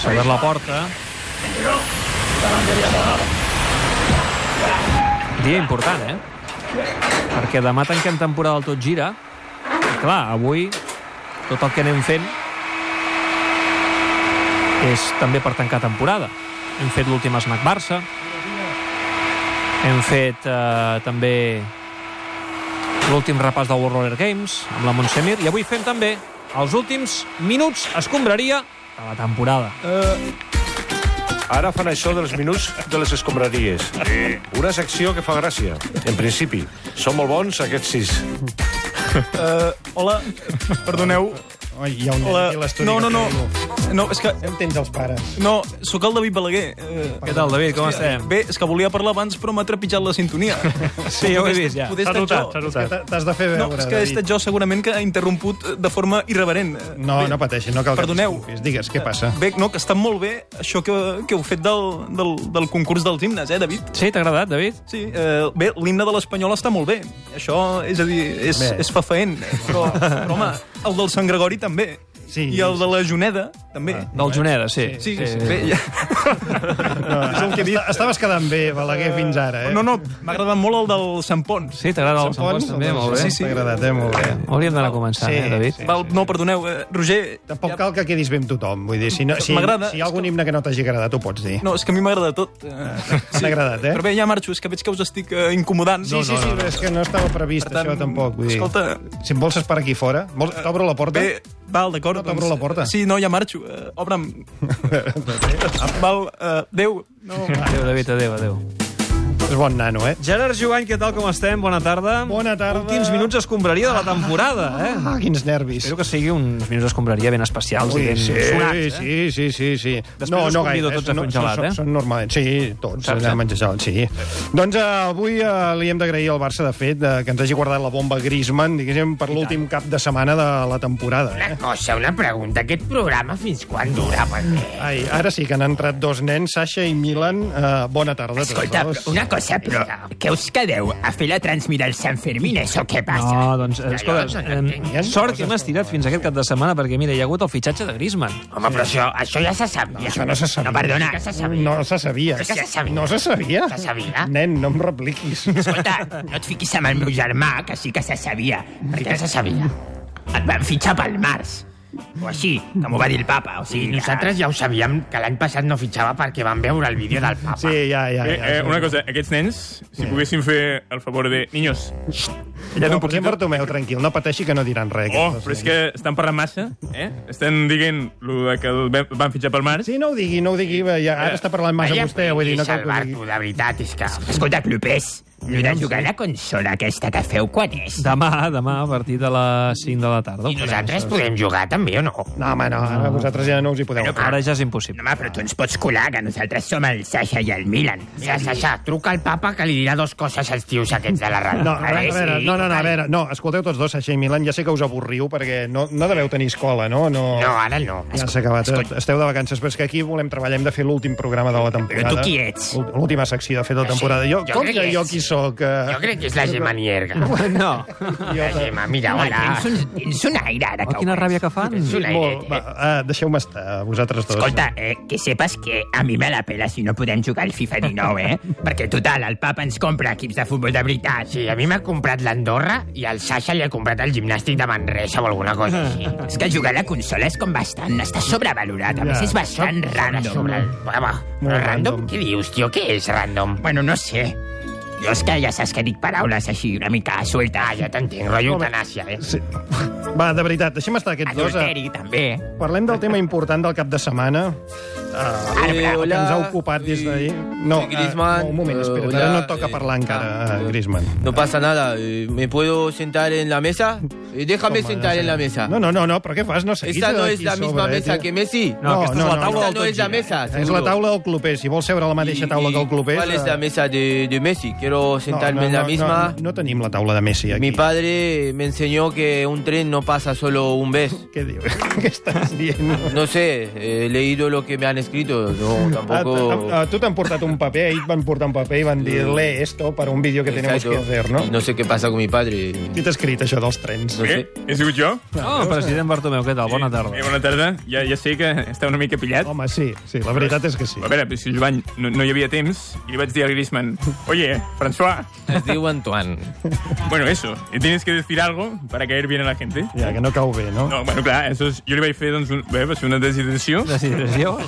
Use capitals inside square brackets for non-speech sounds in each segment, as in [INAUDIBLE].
S'ha obert la porta. Dia important, eh? Perquè demà tanquem temporada del Tot Gira. I clar, avui tot el que anem fent és també per tancar temporada. Hem fet l'últim Snack Barça, hem fet eh, també l'últim repàs del World Roller Games amb la Montsemir i avui fem també els últims minuts escombraria de la temporada. Eh, Ara fan això dels minuts de les escombraries. Una secció que fa gràcia, en principi. Són molt bons aquests sis. Eh, Hola, perdoneu. [LAUGHS] Ai, hi ha un nen La... aquí a l'estudi. No, no, que no. té algú. No, és que... Em tens els pares. No, sóc el David Balaguer. Eh, Què tal, David? Com estem? Bé, és que volia parlar abans, però m'ha trepitjat la [LAUGHS] sintonia. Sí, ja ho he vist, ja. Poder S'ha estar notat, jo. s'ha És que notat. t'ha- T'has de fer veure, No, és que he David. estat jo segurament que he interromput eh, de forma irreverent. Eh, No, bé, no pateixi, no cal Perdoneu. que t'esculpis. Digues, què passa? Bé, no, que està molt bé això que, que heu fet del, del, del concurs dels himnes, eh, David? Sí, t'ha agradat, David? Sí, eh, bé, l'himne de l'Espanyol està molt bé. Això, és a dir, és, Bé. és fafaent. Però, però, home, el del Sant Gregori també. Sí. I el de la Juneda, també. Del Juneda, sí. Eh, Sí, sí, sí. Bé, ja... No, est- Ah. Estaves quedant bé, Balaguer, fins ara, eh? No, no, m'ha agradat molt el del Sant Pons. Sí, t'agrada el Sant Pons, Sampons també, molt bé. Sí, Sí, sí. T'ha agradat, eh? Molt bé. Hauríem d'anar començant, Sí, eh, David? sí. Val, no, perdoneu, eh, Roger... Tampoc cal que quedis bé amb tothom. Vull dir, si, no, si, M'agrada. si hi ha algun himne que no t'hagi agradat, ho pots dir. No, és que a mi m'agrada tot. Eh, Ah, T'ha agradat, eh? Però bé, ja marxo, és que veig que us estic eh, incomodant. Sí, sí, sí, però és que no estava previst Per tant, això tampoc. Vull dir. escolta- Eh, Si em vols esperar aquí fora, vols... t'obro la porta? Bé, val, d'acord. doncs, No t'obro la porta. Sí, no, ja marxo. Eh, Obre'm. Val, eh, adéu. [LAUGHS] No, Adéu, David, adéu, adéu. És bon nano, eh? Gerard Jovany, què tal, com estem? Bona tarda. Bona tarda. Últims minuts escombraria de la temporada, eh? Ah, quins nervis. Espero que sigui uns minuts d'escombraria ben especials i Ui, ben sí, sonats, eh? sí, sí, sí, sí. Després us convido tots a fer un gelat, són, eh? Són normal. Sí, tots, Saps, Saps, a eh? menjar gelat, sí. Doncs eh, avui eh, li hem d'agrair al Barça, de fet, eh, que ens hagi guardat la bomba Griezmann, diguéssim, per l'últim cap de setmana de la temporada. Eh? Una cosa, una pregunta. Aquest programa fins quan dura? Perquè... Ai, ara sí que han entrat dos nens, Sasha i Milan. Eh, bona tarda a tots Escolta, dos. una cosa, però què us quedeu? A fer la transmira al San Fermín, això què passa? No, doncs, eh, Jo escolta, no eh, entenc. sort que hem estirat fins aquest cap de setmana perquè, mira, hi ha hagut el fitxatge de Griezmann. Home, però això, això ja se sap. Ja. Això no se sabia. No, perdona. Que se sabia. No se sabia. Que se sabia. No se sabia. Se sabia. Nen, no em repliquis. Escolta, no et fiquis amb el meu germà, que sí que se sabia. Per què se sabia? Et van fitxar pel març. O així, com ho va dir el papa. O sigui, nosaltres ja ho sabíem, que l'any passat no fitxava perquè vam veure el vídeo del papa. Sí, ja, ja. Eh, ja eh, una cosa, aquests nens, si poguessin fer el favor de... Niños, Ja no, un un poquito... poquito. Bartomeu, tranquil, no pateixi que no diran res. oh, aquests dos però és nens. que estan parlant massa, eh? Estan dient lo de que el ve- van fitxar pel març. Sí, no ho digui, no ho digui. va, Ja, ara Eh, està parlant massa Vaya vostè, vull dir, no cal que ho digui. salvar-t'ho, de veritat, és que... Escolta, Clopés, allò de jugar a la consola aquesta que feu, quan és? Demà, demà, a partir de les 5 de la tarda. I nosaltres podem jugar també o no? No, home, no, ara vosaltres ja no us hi podeu. Bueno, Ara ja és No, impossible. home, però tu ens pots colar, que nosaltres som el Sasha i el Milan. Mira, Sasha, truca al papa que li dirà dos coses als tios aquests de [LAUGHS] la ràdio. No, a veure, a sí, veure, no, no, no, a total. veure, no, escolteu tots dos, Sasha i Milan, ja sé que us avorriu perquè no, no deveu tenir escola, no? No, No, ara no. ja s'ha acabat, eh? esteu de vacances, però és que aquí volem treballar, hem de fer l'últim programa de la temporada. tu qui ets? L'últ- L'última secció, de fet, de la Jo sí, temporada. Jo, jo com crec que que jo ets. qui sóc? Eh? Jo crec que és la Gemma Nierga. No. La Gemma, mira, hola. Tens un, tens un aire, ara Oh, que ho quina penso. ràbia que fan. Tens un Molt, aire. va, ah, deixeu-me estar, vosaltres dos. Escolta, eh, que sepas que a mi me la pela si no podem jugar al FIFA 19, [LAUGHS] eh? Perquè, total, el papa ens compra equips de futbol de veritat. Sí, a mi m'ha comprat l'Andorra i el Sasha li ha comprat el gimnàstic de Manresa o alguna cosa així. [LAUGHS] és que jugar a la consola és com bastant... Està sobrevalorat. A més, Ja. és bastant random. Sobre... Va, Molt però random. random, què dius, tio? Què és random? Bueno, no sé. Jo és que ja saps que dic paraules així una mica suelta. Ah, ja t'entenc, rotllo eutanàsia, eh? Sí. Va, de veritat, deixem estar aquests dos. eh? Adulteri, també. Parlem del tema important del cap de setmana. Uh, Arbre. que ens ha ocupat des d'ahir. No, soy Griezmann. eh, un moment, Eh, espera, hola, ara no et toca eh, parlar encara, ah, eh, Griezmann. No pasa nada. eh, ¿Me puedo sentar en la mesa? Eh, Déjame Home, sentar no sé. en la mesa. No, no, no, no però què fas? No seguis Esta no aquí es la sobre, misma eh, mesa tio. que Messi. No, aquesta és la taula Esta del no Tot es la Gira. mesa. És seguro. la taula del cluber. Si eh. vols seure a la mateixa taula ¿Y- que el cluber... ¿Cuál es la eh, mesa de, de Messi? Quiero quiero sentarme en la misma. No, no tenim la taula de Messi aquí. Mi padre me enseñó que un tren no pasa solo un [LAUGHS] vez. Què dius? Què estàs dient? No sé, eh, he leído lo que me han escrito. No, A, tampoco. a, a ah, tu t'han portat un paper, ahir et van portar un paper i van dir lee esto para un vídeo ah, que tenemos que Exacto. hacer, no? Y no sé qué pasa con mi padre. Qui t'ha escrit això dels trens? No Eh? sé. He sigut jo? Oh, president Bartomeu, què tal? Bona tarda. Eh, bona tarda. Ja, ja sé que està una mica pillat. Home, sí, sí, la veritat és que sí. A veure, però si Jovany no, no hi havia temps, i li vaig dir al Griezmann, oye, François, Es diu Antoine. bueno, eso, tienes que decir algo para caer bien a la gente. Ja, que no cau bé, no? No, bueno, clar, això és, jo li vaig fer, doncs, un, bé, va ser una desideració, Decisió.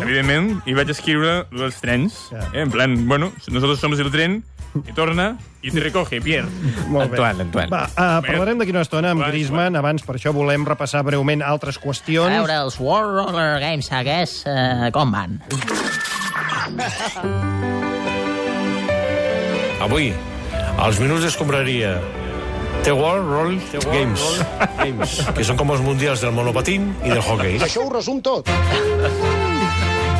evidentment, i vaig escriure lo dels trens, Ja. eh, en plan, bueno, nosotros somos el tren, i torna, i te recoge, Pierre. Molt bé. Antoine, Antoine. Va, uh, parlarem d'aquí una estona amb Antoine, Griezmann. Abans, per això, volem repassar breument altres A qüestions. veure, els World Roller Games aquests, eh, com van? Avui, als minuts d'escombraria, The World Roll Games, Games, [LAUGHS] que són com els mundials del monopatín i del [LAUGHS] hockey. [LAUGHS]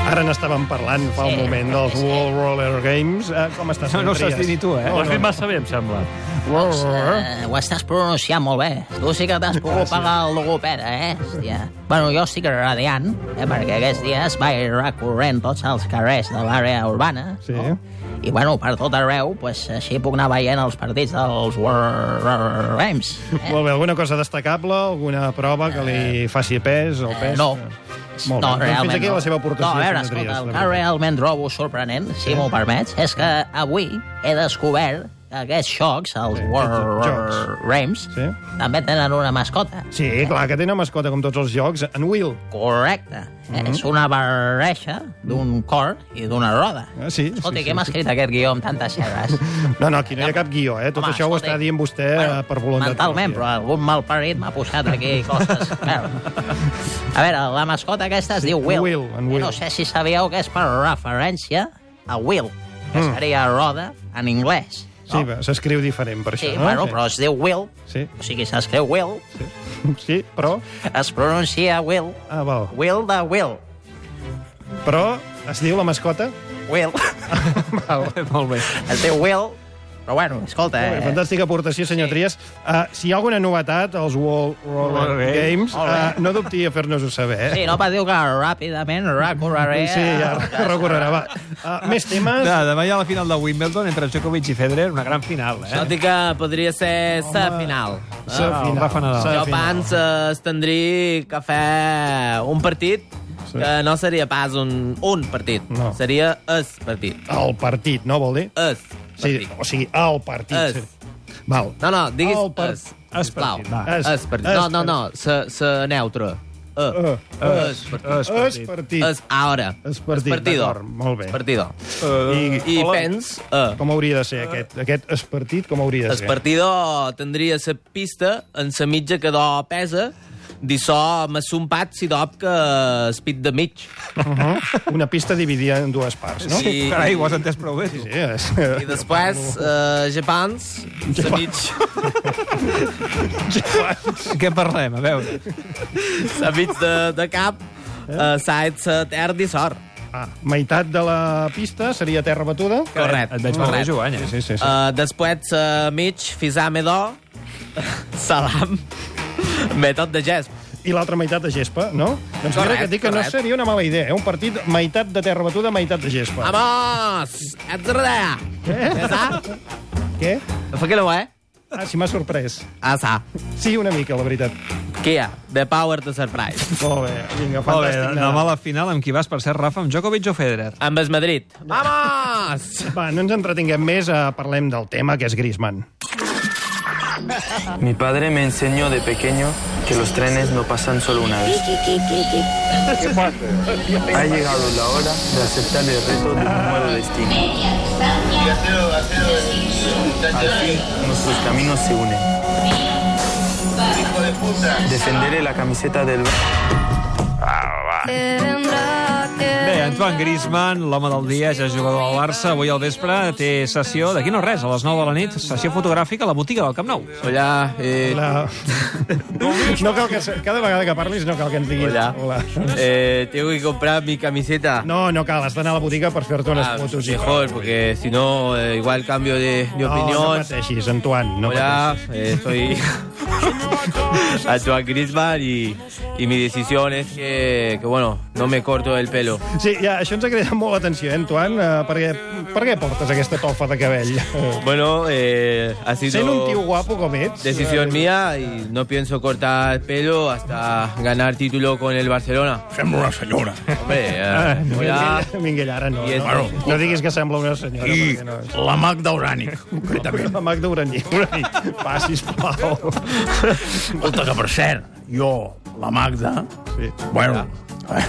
Ara n'estàvem parlant fa un Sí, moment dels sí. World Roller Games. Uh, com estàs? No, no ho saps dir ni tu, eh? No, Ho has no. dit massa bé, em sembla. World Roller. Eh, ho estàs pronunciant molt bé. Tu sí que t'has Ah, pogut pagar el logopeda, eh? Hòstia. Bueno, jo estic radiant, eh? perquè aquests dies vaig recorrent tots els carrers de l'àrea urbana. Sí. No? I, bueno, per tot arreu, pues, així puc anar veient els partits dels World Roller Games. Eh? [LAUGHS] Molt bé, alguna cosa destacable? Alguna prova que li faci pes o pes? No. Molt no, bé. Doncs realment fins aquí no. la seva aportació, No, a veure, senyor Trias, escolta, la el que veritat. realment trobo sorprenent, si m'ho permets, és que avui he descobert que aquests xocs, els Sí, aquests World jocs. Rams, Sí. també tenen una mascota. Sí, clar, que tenen mascota com tots els jocs. En Will. Mhm. Correcte. És una barreja d'un cor i d'una roda. Ah, sí, Escolta, sí, que sí, hem sí. escrit aquest guió amb tantes xerres. [LAUGHS] No, no, aquí no hi ha cap guió, eh? Tot Home, això ho escolti, està dient vostè eh, per voluntat. Mentalment, però pròpia. algun malparit m'ha posat aquí coses. [LAUGHS] Merda. A veure, la mascota aquesta es diu Will. Eh, Will, en Will. No sé si sabíeu que és per referència a Will, que seria roda en anglès. Mm. Sí, però s'escriu diferent, per Sí, això, no? bueno, però es diu Will, Sí, o sigui, s'escriu Will, sí, [LAUGHS] però... es pronuncia Will, Ah, val. Will de Will, Però es diu la mascota? [LAUGHS] Will, Molt bé. es diu Will, però bueno, escolta... Molt bé, eh, Fantàstica aportació, senyor Trias. Uh, si hi ha alguna novetat als World Roller Games, Molt bé. uh, no dubti a fer-nos-ho saber. Eh? Sí, no pa diu que ràpidament recorreré... sí, ja recorrerà. Va. Uh, més temes? Ja, demà hi ha la final de Wimbledon entre Djokovic i Federer, una gran final, eh? Tot i que podria ser la final. Sa Ah, el Rafa Nadal. Sa Jo final. abans eh, es tindria que fer un partit que no seria pas un, un partit, No. seria es partit. El partit, no vol dir? Es Sí, partit. o sigui, el partit. Es. Sí. Val. No, no, diguis El par- es, es sisplau. partit, va. Es- Es partit. es No, no, partit. no, se, se neutre. Eh, Ah. Eh, es. Es partit. És Es partit. partit. Es ara. Es partit, Es partido. d'acord, molt bé. Es partido. I, I pens... Eh, Com hauria de ser aquest? Aquest es partit, com hauria El de ser? partidor tindria la pista en la mitja que do pesa dissò amb un pat si dop que es pit de mig. Uh-huh. Una pista dividida en dues parts, no? I, Carai, ho has entès prou bé, tu. Sí, és... i després, eh, Japans, la mig, [LAUGHS] Què parlem? A veure. la mig de, de cap, eh, sides, eh, terra i sort. Ah, meitat de la pista seria terra batuda? Correcte. Et veig molt bé correcte. jugant, eh? Sí, sí, sí. Eh, després, la mig, fisame d'or, [LAUGHS] salam, metod de gesp. I l'altra meitat de gespa, no? Doncs mira Correcte, que et dic que no correcte. seria una mala idea, eh? Un partit meitat de terra batuda, meitat de gespa. Vamos! Ets darrere! Ja sa? Què? Ah. Fa que no, eh? Ah, sí, m'ha sorprès. Ah, sa. Sí, una mica, la veritat. Kia, the power to surprise. Molt bé, vinga, Molt bé, fantàstic. Nadal. demà a la final amb qui vas, per ser Rafa, amb Djokovic o Federer? Amb el Madrid. Vamos! Va, no ens entretinguem més, eh, parlem del tema, que és Griezmann. Mi padre me enseñó de pequeño que los trenes no pasan solo una vez. Ha llegado la hora de aceptar el reto de un nuevo destino. Al fin nuestros caminos se unen. Defenderé la camiseta del... Bé, en Antoine Griezmann, l'home del dia, ja jugador del Barça. Avui al vespre té sessió, d'aquí no res, a les 9 de la nit, sessió fotogràfica a la botiga del Camp Nou. Hola, eh, La... No cal que... Cada vegada que parlis no cal que ens diguis. hola. Eh, tengo que comprar mi camiseta. No, no cal, has d'anar a la botiga per fer-te unes Ah, fotos. i- mejor, porque si no, eh, igual cambio de, de No, no opinión. pateixis, Antoine. No Hola, eh, soy [LAUGHS] Antoine Griezmann y, y mi decisión es que, que, bueno, no me corto el pelo. pateixis. Sí, ja, això ens ha cridat molt l'atenció, eh, Antoine? Eh, per, què, per què portes aquesta tofa de cabell? Bueno, eh, ha Sent un tio sido guapo eh. com ets... decisión mía y no pienso cortar pelo hasta ganar título con el Barcelona. Fem una senyora. Hombre, [LAUGHS] Ah, eh, hola. Minguell, Minguell, ara no. I és- No, no diguis que sembla una senyora, I perquè no és. la Magda Orànic, concretament. La Magda Uraní. Uraní, va, sisplau. Escolta, que per cert, jo, la Magda... Sí. Bueno, eh,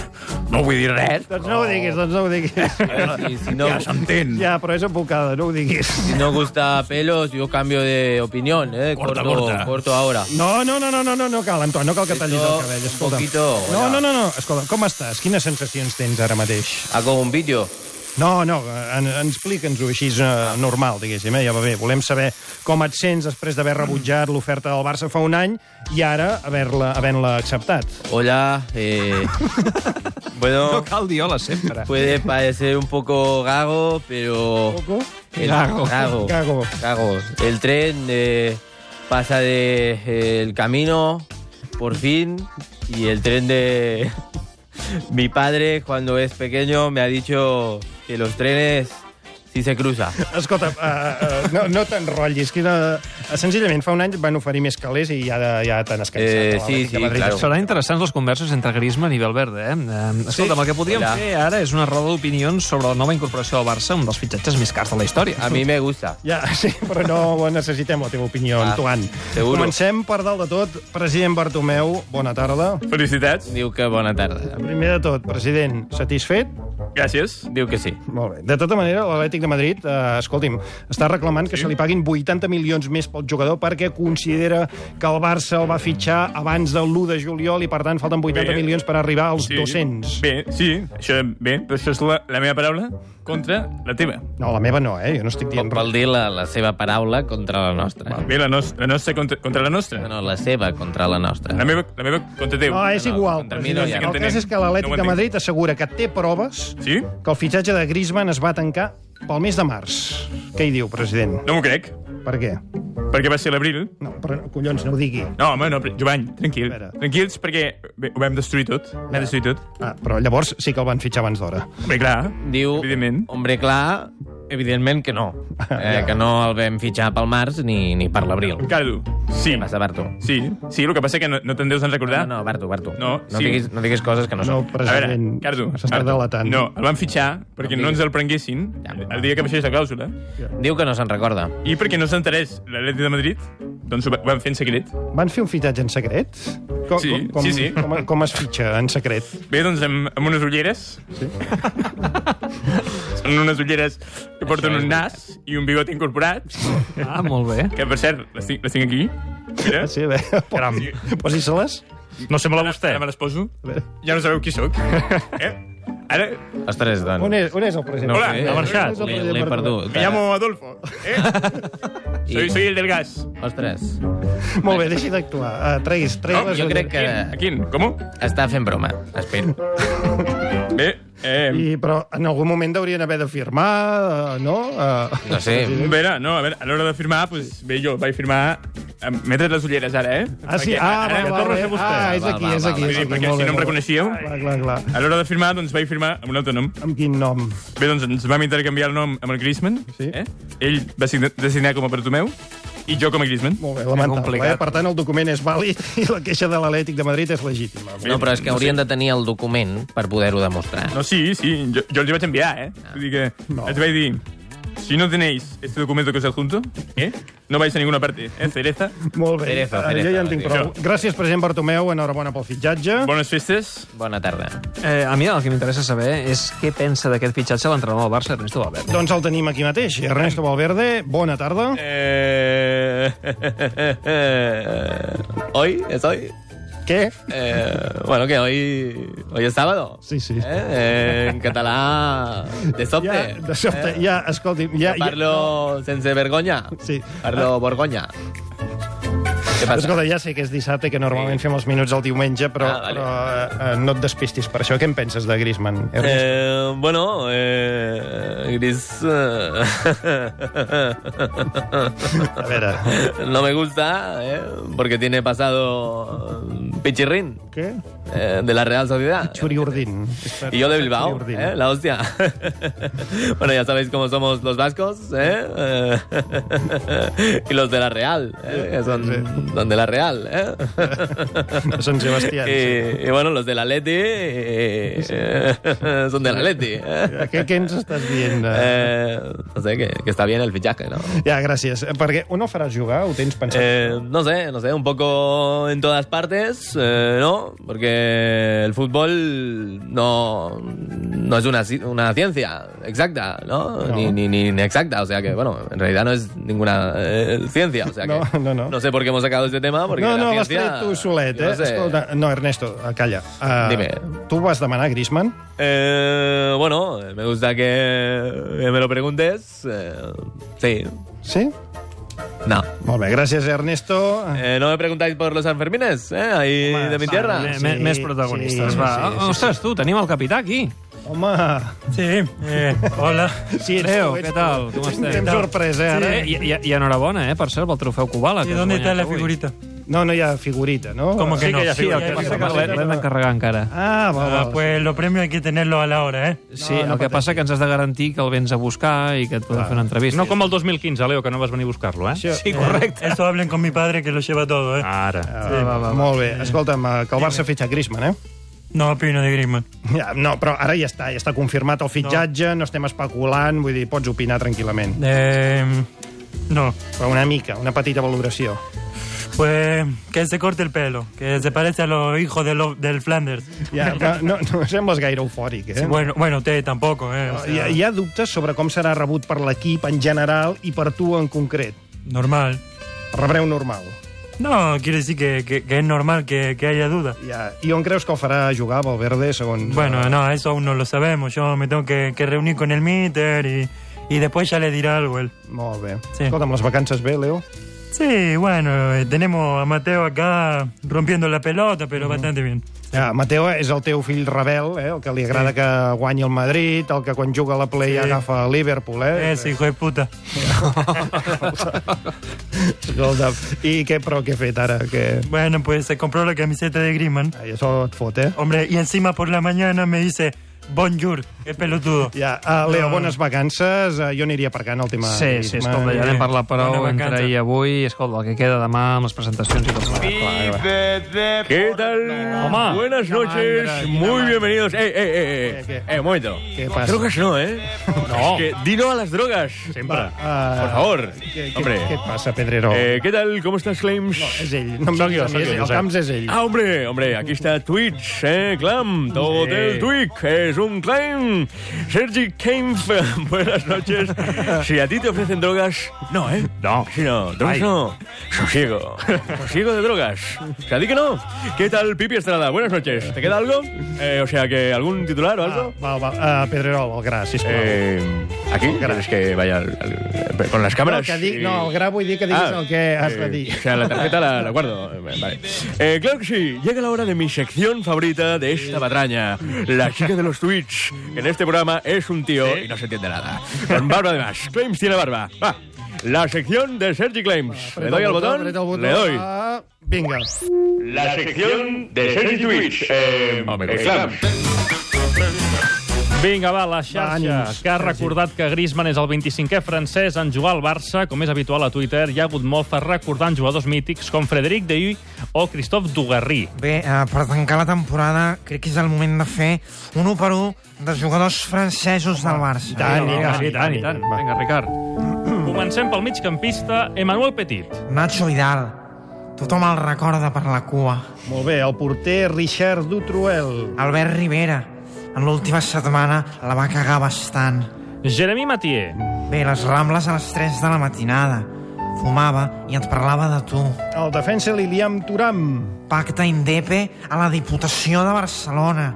no vull dir res. doncs no ho diguis, doncs no ho diguis. Si, si No. no, Ja s'entén. Ja, però és embocada, no ho diguis. si no gusta pelos, yo cambio de opinión. eh, Corta, corto, corta. corto ahora. No, no, no, no, no, no, no cal, Antoine, no cal que tallis el Esto, cabell, un escolta'm. poquito, no, hola. no, no, no, escolta, com estàs? Quines sensacions tens ara mateix? Hago un vídeo. No, no, en, en explica'ns-ho així eh, normal, diguéssim, eh? ja va bé. Volem saber com et sents després d'haver rebutjat l'oferta del Barça fa un any i ara haver-la havent la acceptat. Hola, eh, [LAUGHS] bueno... No cal dir hola sempre. Puede parecer un poco gago, pero... Poco? El, Gago. Gago. Gago. Gago. El tren eh, pasa de eh, el camino, por fin, y el tren de... [LAUGHS] Mi padre, cuando es pequeño, me ha dicho que los trenes sí se cruzan. Escolta, uh, uh, no, no t'enrotllis. Quina... Senzillament, fa un any et van oferir més calés i ja, de- ja te n'has Eh, cansat. sí, sí, claro. Seran interessants les converses entre Griezmann i Valverde, eh? Eh, Escolta'm, el que podríem Hola. fer ara és una roda d'opinions sobre la nova incorporació al Barça, un dels fitxatges més cars de la història. A mí me gusta. Ja, sí, però no necessitem la teva opinió, ah, Ah, Antoine. seguro. Comencem per dalt de tot. President Bartomeu, bona tarda. Felicitats. Diu que bona tarda. Primer de tot, president, satisfet? Gràcies. Diu que sí. Molt bé. De tota manera, l'Atlètic de Madrid, eh, escolti'm, està reclamant que se li paguin 80 milions més pel jugador perquè considera que el Barça el va fitxar abans del 1 de juliol i, per tant, falten 80 Bé. milions per arribar als 200. Bé, sí, això, bé, però això és la, la meva paraula contra la teva. No, la meva no, eh? Jo no estic dient res. Vol dir la, la seva paraula contra la nostra. Bé, la, nos la nostra contra, contra la nostra. No, la seva contra la nostra. La meva, la meva contra teva. No, Ah, és no, igual. contra mi no president. hi ha. El cas és que l'Atlètic No ho de entenc. Madrid assegura que té proves Sí? que el fitxatge de Griezmann es va tancar pel mes de març. Què hi diu, president? No m'ho crec, Per què? perquè va ser l'abril. No, però, collons, no ho digui. No, home, no, però, Jovany, tranquil. Espera. Tranquils, perquè bé, ho vam destruir tot. Vam destruir tot. Ah, però llavors sí que el van fitxar abans d'hora. Bé, clar, Diu, evidentment. hombre, clar, evidentment que no. Eh, que no el vam fitxar pel març ni, ni per l'abril. Ricardo, sí, Què passa, Bartu? sí, sí, el que passa que no, no te'n deus en recordar. No, no, Bartu, Bartu. No, no, sí. diguis, no diguis coses que no No, són. A veure, president, Cardo, s'està Cardo, delatant. No, el van fitxar perquè No no ens diguis. el prenguessin Ja. el dia que baixés la clàusula Diu que no se'n recorda. i perquè no s'enterés l'Atleti de Madrid, doncs ho va- ho van fer en secret. Van fer un fitxatge en secret? Com, Sí, com, sí, sí. Com, com es fitxa en secret? Bé, doncs amb, amb unes ulleres. Sí. Són unes ulleres que porten un nas i un bigot incorporat, Ah, molt bé. que per cert, les tinc, les tinc aquí. Mira, Ah, sí, a veure, Caram. posi-se-les. no sembla vostè. Ara me les poso. veure. Ja no sabeu qui [LAUGHS] sóc. Eh? Ara, Ostres, doncs... On és, on és el president? Hola, sé. ha marxat. On és L'he el president l'he Bartomeu? perdut. me llamo Adolfo. Eh? Soy, soy el del gas. Ostres, Molt bé, deixi d'actuar. Uh, treguis, treguis No, les jo crec que Aquí, com? està fent broma. Espero. Bé, eh... I, però en algun moment haurien haver de firmar, eh, no? Eh, No [LAUGHS] sé. A veure, no, a veure, a l'hora de firmar, doncs, bé, jo vaig firmar... Em- M'he tret les ulleres ara, eh? ah, sí, Perquè ah, ara va, em va, torno a va, ser vostè. ah, és Va, aquí, va, és va, aquí. va. és Sí, aquí, perquè molt si bé, no em molt bé. reconeixíeu... Clar, clar, clar. A l'hora de firmar, doncs, vaig firmar amb un altre nom. Amb quin nom? Bé, doncs ens vam intercanviar el nom amb el Griezmann. Sí. Eh? Ell va signa- designar com a Bartomeu i jo com a Griezmann. Molt bé, lamentable. complicat. Eh? Per tant, el document és vàlid [LAUGHS] i la queixa de l'Atlètic de Madrid és legítima. No, però és que haurien de tenir el document per poder-ho demostrar. No, sí, sí, jo, jo els hi vaig enviar, eh? Ah. Vull dir que No. els vaig dir... Si no tenéis este documento que os adjunto, ¿eh? no vais a ninguna parte, ¿eh? Cereza. Molt bé, Cereza, Eh, cereza, jo ja en tinc diu. prou. Gràcies, president Bartomeu, enhorabona pel fitxatge. Bones festes. Bona tarda. Eh, a mi el que m'interessa saber és què pensa d'aquest fitxatge l'entrenador del Barça, Ernesto Valverde. Doncs el tenim aquí mateix. Ernesto Valverde, bona tarda. Eh, Eh... Hoy? És hoy? Què? Eh, bueno, que hoy, hoy es sábado. Sí, sí. Eh, eh, en català, de sobte. Ja, de sobte, ja, escolti... Ja, ja, Parlo sense vergonya. Sí. Ah. Parlo borgonya. Què passa? Escolta, ja sé que és dissabte, que normalment fem els minuts el diumenge, però, Ah, vale. però eh, eh, no et despistis per això. Què en penses de Griezmann? Eh, Eh, bueno, eh, Gris... eh, a veure... no me gusta, eh, porque tiene pasado Pichirrin, Què? eh, de la Real Sociedad. Xuri Urdin. Y yo de Bilbao, Urdin. ¿eh? la hostia. [LAUGHS] bueno, ya sabéis cómo somos los vascos, ¿eh? [LAUGHS] Eh, y los de la Real, ¿eh? que son, son de la Real. ¿eh? Son Sebastián, Y, y bueno, los del Atleti eh, eh, son del Atleti. ¿eh? Què, què ens estàs dient? Eh, Eh, no sé, que, que está bien el fichaje, ¿no? ja, gràcies. Eh, Perquè on el faràs jugar? Ho tens pensat? Eh, no sé, no sé, un poco en todas partes, eh, ¿no? Porque el fútbol no, no es una, ci- una ciencia exacta, ¿no? Ni, ni, ni- ni exacta, o sea que, bueno, en realidad no es ninguna eh, ciencia, o sea que... No, no, no. sé por qué hemos sacado este tema, porque no, la no, l'has ciencia... tret tu solet, yo eh? no sé. Escolta, no, Ernesto, calla. Uh, Dime. Tu vas demanar Griezmann? Eh, bueno, me gusta que que me lo preguntes. eh, sí, Sí? no. Molt bé, gràcies, Ernesto. Eh, ¿No me preguntáis por los Sanfermines? ¿Eh? Ahí Home, de mi sí, tierra. sí, M- Més protagonistes, sí, va. sí, sí, Ostres, tu, tenim el capità aquí. Home, Sí, eh, hola. sí, ets Leo, tu, ets què tu. tal? Com estem? Tens sorpresa, eh, ara. Eh, i, i, I enhorabona, eh, per cert, pel trofeu Kubala. ¿Y que has dónde guanyat está la avui. figurita? No, no hi ha figurita, no? ¿Cómo que sí no? Que hi ha Sí, Sí, el figurita. que Ja sé passa que que l'he- l'he- l'hem d'encarregar encara. Ah, va, va. Ah, pues lo premio hay que tenerlo a la hora, ¿eh? Sí, el que passa que ens has de garantir que el vens a buscar i que et podem fer una entrevista. No com el 2015, Leo, que no vas venir a buscar-lo, eh? Això- Sí, correcte. Eso hablen con mi padre que lo lleva todo, ¿eh? Ara. Ah, va, va, va. Molt bé. Escolta'm, eh, que el Barça fitxa Griezmann, eh? No opino de Griezmann. Ja, no, però ara ja està, ja està confirmat el fitxatge, no, estem especulant, vull dir, pots opinar tranquil·lament. [LAUGHS] Eh, no, Però una mica, una petita valoració. pues que se corte el pelo, que se parece a los hijos de lo- del Flanders. Ja, però no, no sembles gaire eufòric, eh? Bueno, bueno, usted tampoco, ¿eh? O sea, Hi ha, hi ha dubtes sobre com serà rebut per l'equip en general i per tu en concret. Normal. Rebreu normal. No, quiere decir que, que- que es normal que, que haya duda. Ja. I on creus que el farà jugar Valverde, segons... Bueno, no, eso aún no lo sabemos. Yo me tengo que, que reunir con el míter y, y después ya le dirá algo él. Molt bé. Sí. Sí. eh? Escolta'm, les vacances bé, Leo? Sí, bueno, eh, tenemos a Mateo acá rompiendo la pelota, pero bastante bien. Ja, Ah, Mateo eh, és el teu fill rebel, eh? el que li agrada sí. que guanyi el Madrid, el que quan juga a la Play sí. Sí. agafa a Liverpool. Eh? Ese hijo de puta. [LAUGHS] Escolta, i què, però què he fet ara? Que... Bueno, pues se compró la camiseta de Griezmann. Ai, això et fot, eh? Hombre, y encima por la mañana me dice Bonjour, el pelotudo. Ja, uh, Leo, bones vacances. Uh, jo aniria aparcant el tema. Sí, sí, escolta, ja n'hem parlat prou Bona entre vacances. ahir i avui. Escolta, el que queda demà amb les presentacions i tot plegat. ¿Qué tal? Home. Buenas noches, muy bienvenidos. Eh, eh, eh, ¿Qué, eh, qué? eh, un momento. Què passa? Drogas no, [LAUGHS] ¿eh? No. Es que di no a las drogas. Va, uh, Por favor. Què, què, Hombre. què et passa, Pedrero? Eh, ¿Qué tal? ¿Cómo estás, Claims? És ell. No em diguis a mi, és ell. El Camps és ell. Ah, hombre, hombre, aquí está Twitch, ¿eh? Clam, todo del Twitch, es un claim. Sergi Kempf, [LAUGHS] buenas noches. Si a ti te ofrecen drogas, no, ¿eh? No. Si no, drogas Ay. no. Sosiego. Sosiego de drogas. O sea, di que no. ¿Qué tal, Pipi Estrada? Buenas noches. ¿Te queda algo? Eh, o sea, que ¿algún titular o Ah, algo? va, va. Uh, Pedrerol, el gra, sisplau. Eh, Eh, ¿Aquí? ¿Quieres que vaya al- al- con las no, cámaras? que dic, y- no, el gra vull dir que diguis Ah, el que has de eh, dir. O sea, la tarjeta la, la guardo. Eh, Vale. Eh, claro que sí, llega la hora de mi sección favorita de esta patraña, la chica de los tweets. En este programa es un tío y no se entiende nada. Con barba además. Claims tiene barba. Va. La sección de Sergi Claims. Le doy al botón. Apreta el botó. Le doy. Ah, vinga. La sección de Sergi Twitch. Eh, Clams. Vinga, va, la Va, xarxa, ànims, que ha Sergi. recordat que Griezmann és el 25è francès en jugar al Barça. Com és habitual a Twitter, hi ha hagut mofa recordant jugadors mítics com Frederic Dehuy o Christophe Dugarry. Bé, eh, per tancar la temporada, crec que és el moment de fer un 1 per 1 de jugadors francesos del Barça. Dani, I Dani, tant, i Dani. tant. Vinga, Ricard. Comencem pel migcampista Emmanuel Petit. Nacho Vidal, tothom el recorda per la cua. Molt bé, el porter Richard Dutruel. Albert Rivera, en l'última setmana la va cagar bastant. Jeremy Mathieu. Bé, les Rambles a les 3 de la matinada. fumava i ens parlava de tu. El defensa Liliam Turam. Pacte Indepe a la Diputació de Barcelona.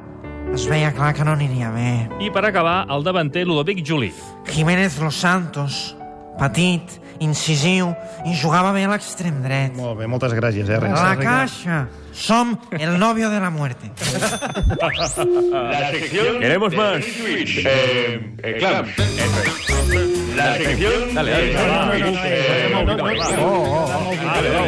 Es veia clar que no aniria bé. I per acabar, el davanter Ludovic Juli. Jiménez Los Santos, petit, incisiu, i jugava bé a l'extrem dret. Molt bé, moltes gràcies, eh, Renzi. La caixa! Som el novio de la muerte. La sección. Queremos de más. Twitch. Eh, eh, clam. La sección. Dale, dale. Aparteu-lo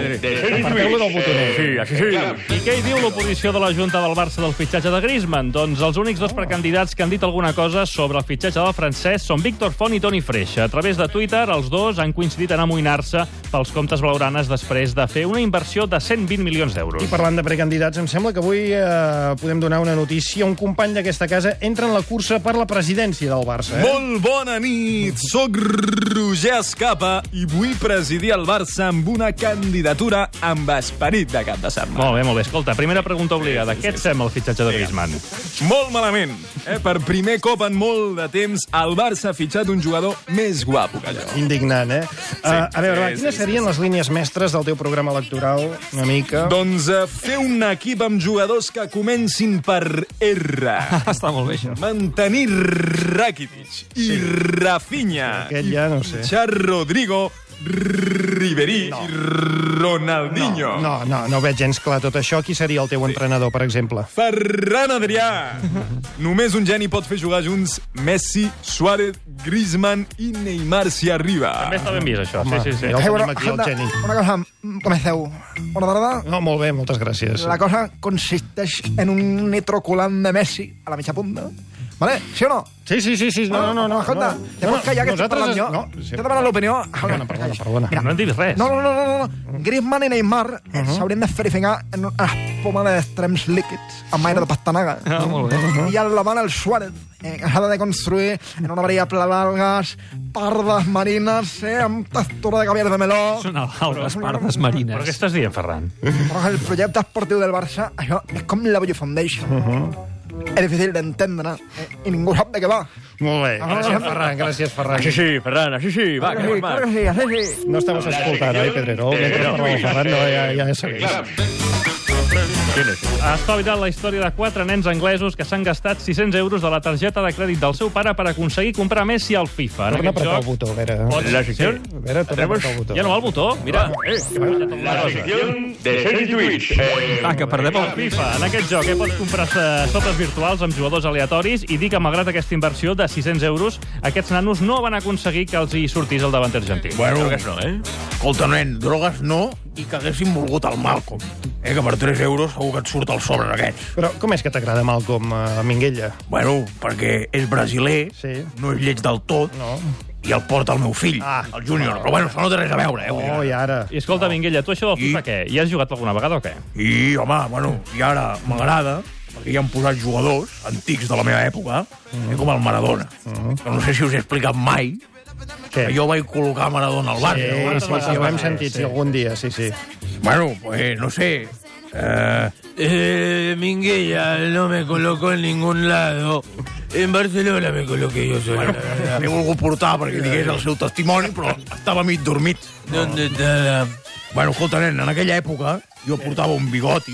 del botoner. Sí, així sí. I què hi diu l'oposició de la Junta del Barça del fitxatge de Griezmann? Doncs els únics dos precandidats que han dit alguna cosa sobre el fitxatge del francès són Víctor Font i Toni Freixa. A través de Twitter, els dos han coincidit en amoïnar-se pels comptes blaugranes després de fer una inversió de 120 milions d'euros. I parlant de precandidats, em sembla que avui eh, podem donar una notícia. Un company d'aquesta casa entra en la cursa per la presidència del Barça. Eh? Molt bona nit, sóc Roger Escapa i vull presidir el Barça amb una candidatura amb esperit de cap de setmana. Molt bé, molt bé. Escolta, primera pregunta obligada. Què et sembla el fitxatge de Griezmann? Molt malament. Eh? Per primer cop en molt de temps, el Barça ha fitxat un jugador més guapo que jo. Indignant, eh? Sí, uh, a veure, va, sí, quines sí, serien les línies mestres del teu programa electoral, una mica? Doncs eh, fer un equip amb jugadors que comencin per R. Està molt bé, això. Mantenir Rakitic i Rafinha. Aquest ja no ho sé. Xar Rodrigo, Ribery i Ronaldinho. No, no, no ho veig gens clar tot això. Qui seria el teu entrenador, per exemple? Ferran Adrià. Només un geni pot fer jugar junts Messi, Suárez, Griezmann i Neymar si arriba. També està ben vist, això. Home, sí, sí, sí. mira, el bueno, tenim aquí, el geni. Una cosa, mm, comenceu. Bona tarda. No, molt bé, moltes gràcies. La cosa consisteix en un nitroculant de Messi a la mitja punta. Vale? ¿Sí o no? Oh. Sí, sí, sí, sí. No, no, no. Escolta, no, no. te pots callar, que estic Nosaltres parlant es- jo. no, sí. T'he demanat l'opinió. Perdona, perdona, perdona. Mira. No en dius res. No, no, no, no, no. Mm. Griezmann i Neymar uh Mm-hmm. -huh. s'haurien de ferifingar en una espuma d'extrems líquids amb aire de pastanaga. Mm-hmm. Ah, molt bé. I al davant el Suárez, eh, que s'ha de construir en una variable d'algues, pardes marines, eh, amb textura de caviar de meló... Són algues pardes marines. Però què estàs dient, Ferran? Però el projecte esportiu del Barça, això és com la Bollo Foundation. Uh -huh. És difícil d'entendre eh, i ningú sap de què va. Molt bé. Ah, Gràcies, Ferran, gràcies, Ferran. Així sí, Ferran, així sí. Va, que sí, claro que sí, així sí. No estamos escoltant, oi, Pedrerol? Mentre parla el Ferran, no, ja, ja, ja segueix. Has espavilat la història de quatre nens anglesos que s'han gastat 600 euros de la targeta de crèdit del seu pare per aconseguir comprar Messi al FIFA. En Torna a aquest apretar el joc... botó, a veure. Pots- La secció? A veure, torna a apretar el botó. Ja no va el botó, mira. Eh, que m'ha fallat alguna La cosa. sección de Sergi Twitch. Eh, Va, Ah, que perdem el FIFA. En aquest joc eh, pots comprar eh, sopes virtuals amb jugadors aleatoris i dir que malgrat aquesta inversió de 600 euros, aquests nanos no van aconseguir que els hi sortís el davanter argentí. Bueno, Drogues no, eh? Escolta, nen, drogues no i que haguéssim volgut el Malcolm. Eh, que per 3 euros segur que et surt el sobre aquest. Però com és que t'agrada Malcom a Minguella? Bueno, perquè és brasiler, sí. no és lleig del tot, no. i el porta el meu fill, ah. el júnior. Però bueno, això no té res a veure, eh? Oh, i ara... I escolta, Minguella, tu això del FIFA què? Hi has jugat alguna vegada o què? I, home, bueno, i ara m'agrada, perquè hi han posat jugadors antics de la meva època, mm. com el Maradona. Mm-hmm. Mm. Que no sé si us he explicat mai, que Què? jo vaig col·locar Maradona al barri. Sí, sí, sí, ho hem sentit, sí, algun dia, sí, sí. Bueno, pues no sé. Eh, Eh, Minguella no me colocó en ningún lado. En Barcelona me coloqué yo solo. Bueno, l'he volgut portar perquè digués el seu testimoni, però estava mig dormit. ¿Dónde está la... Bueno, escolta, nen, en aquella època jo portava un bigoti,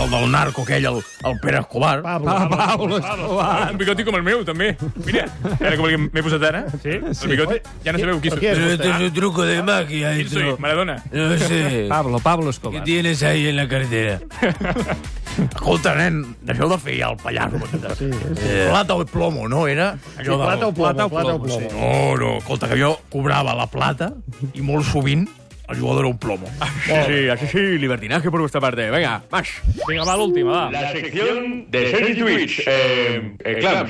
el del narco aquell, el, el Pere Escobar. Pablo, Ah, Pablo Escobar. Un bigoti com el meu, també. Mira, ara com el que m'he posat ara, sí? el bigoti, ja no sabeu qui este soc. Pero esto es un truco de magia. ¿Quién soy? esto. Maradona. No sé. Pablo, Pablo ¿Qué Escobar. tienes ahí en la cartera? [LAUGHS] Escolta, nen, deixeu de fer ja el pallasso. Sí, sí. Plata o plomo, no era? Sí, plata o plomo, plata o plomo, sí. No, no, escolta, que jo cobrava la plata i molt sovint el jugador era un plomo. Sí, sí, así sí, libertinaje por vuestra parte. Venga, más. Vinga, va, l'última, va. La sección de Sergi Twitch. Eh, eh, clam.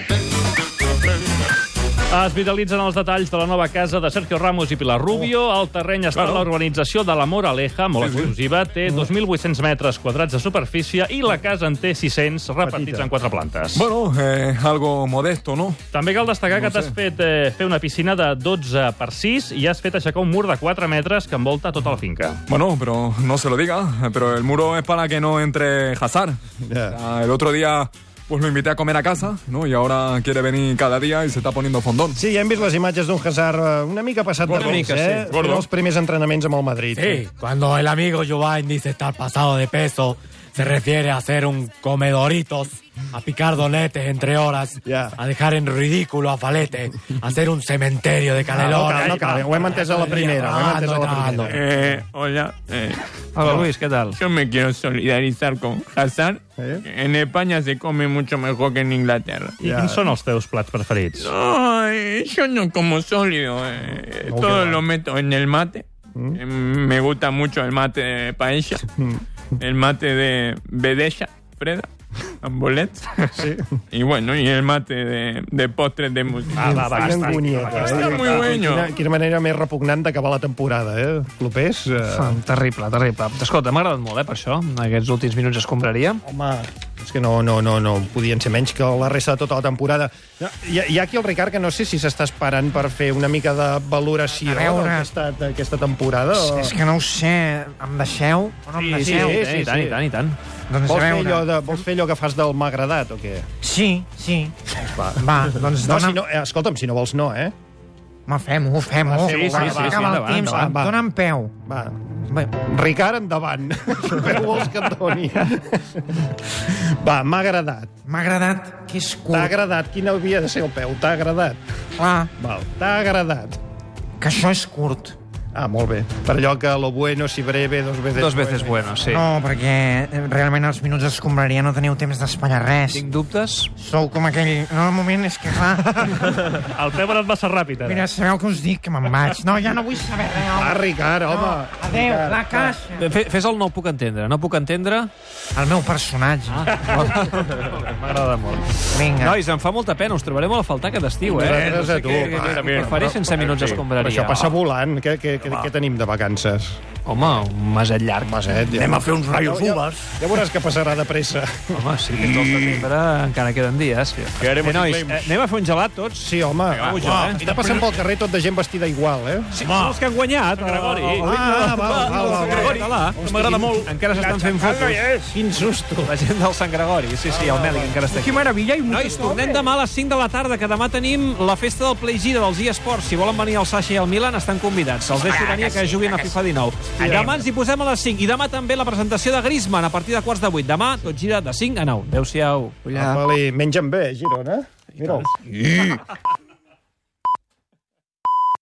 Es vitalitzen els detalls de la nova casa de Sergio Ramos i Pilar Rubio. El terreny està a l'urbanització de la Moraleja, molt exclusiva. Té 2.800 metres quadrats de superfície i la casa en té 600, repartits en quatre plantes. Bueno, eh, algo modesto, ¿no? També cal destacar que t'has fet eh, fer una piscina de 12 per 6 i has fet aixecar un mur de 4 metres que envolta tota la finca. Bueno, pero no se lo diga, pero el muro es para que no entre Hazard. O sea, el otro día pues lo invité a comer a casa, ¿no? Y ahora quiere venir cada día y se está poniendo fondón. Sí, ja hem vist les imatges d'un Hazard eh, una mica passat Una de mica, temps, eh? sí. Gordo. Els primers entrenaments amb el Madrid. Sí, cuando el amigo Giovanni dice estar pasado de peso, se refiere a hacer un comedoritos, a picar donetes entre horas, a dejar en ridículo a Falete, a hacer un cementerio de canelones. Ah, no cal, eh? ho hem entès a la primera, ho hem entès a la primera. Eh, hola. eh, Hola, yo- Luis, ¿qué tal? Yo me quiero solidarizar con Hazard. En España se come mucho mejor que en Inglaterra. I quins són els teus plats preferits? No, eh, yo no como sólido. eh, No, todo qué va. lo meto en el mate. Eh, Me gusta mucho el mate de paella. El mate de Bedella, Freda, Ambolet. [LAUGHS] Y bueno, y el mate de, de postres de Ah, música. Quina angúnia, eh? Está muy bueno. Quina, quina manera més repugnant d'acabar la temporada, eh? Clopés? Eh? Ah, terrible, terrible. Escolta, m'ha agradat molt, eh, per això. En aquests últims minuts escombraria. Home, és que no, no, no, no podien ser menys que la resta de tota la temporada. No, Hi ha, hi ha aquí el Ricard que no sé si s'està esperant per fer una mica de valoració A veure. d'aquesta d'aquesta temporada. És, O... és que no ho sé, em deixeu o no em Sí, sí, deixeu? sí, sí, sí. Doncs vols, a fer veure. allò de, vols fer allò que fas del m'ha agradat o què? Sí, sí. Va, Va, doncs no, dona- si no, eh, escolta'm, si no vols no, eh? Home, fem-ho, fem-ho. Sí, sí, sí, sí, Acaba el endavant, temps, endavant, va. dona'm peu. Va. Bé, [LAUGHS] Ricard, endavant. Què vols que et doni? Va, m'ha agradat. M'ha agradat que és curt. T'ha agradat? Quin havia de ser el peu? T'ha agradat? Clar. Val. T'ha agradat? Que això és curt. Ah, molt bé. Per allò que lo bueno si breve, dos veces Dos veces bueno, sí. No, perquè eh, realment els minuts d'escombraria no teniu temps d'espatllar res. Tinc dubtes. Sou com aquell... No, un moment, és que [LAUGHS] clar... El Pep ara et va ser ràpid, ara. Mira, sabeu què us dic? Que me'n vaig. No, ja no vull saber res. home. Va, Ricard, No, home. Adéu, Ricard, la va. caixa. Fe- Fes el no ho puc entendre, no puc entendre. El meu personatge. Ah. [LAUGHS] M'agrada molt. Vinga. Nois, em fa molta pena, us trobarem molt a faltar aquest estiu, eh? Nosaltres a tu, va. Ho faré sense minuts Oh. d'escombraria. Però Això passa volant. Què, què, què, què tenim de vacances? Home, un maset llarg. Maset, ja. Anem a fer uns raios Ja- ja- uves. Ja veuràs que passarà de pressa. Home, sí, que tot setembre encara queden dies. Que haremos eh, nois, y claims. eh, anem a fer un gelat tots? Sí, home. Vinga, va, eh? va. eh? Està passant pel carrer tot de gent vestida igual, eh? Sí, són els que han guanyat, Gregori. Ah, val, val, Els de val. Gregori, val. Català, que m'agrada molt. Encara s'estan fent fotos. Quin susto. La gent del Sant Gregori, sí, sí, el Meli, que encara està aquí. Que meravella. Nois, tornem demà a les 5 de la tarda, que demà tenim la festa del Play Gira dels eSports. Si volen venir al Sasha i al Milan, estan convidats. Els deixo Clar venir que que sí, juguin clar a que FIFA 19. I Anem. demà ens hi posem a les 5. I demà també la presentació de Griezmann a partir de quarts de 8. Demà tot gira de 5 a 9. Adéu-siau. eh, Vale, mengen bé, Girona. Mira'ls. I...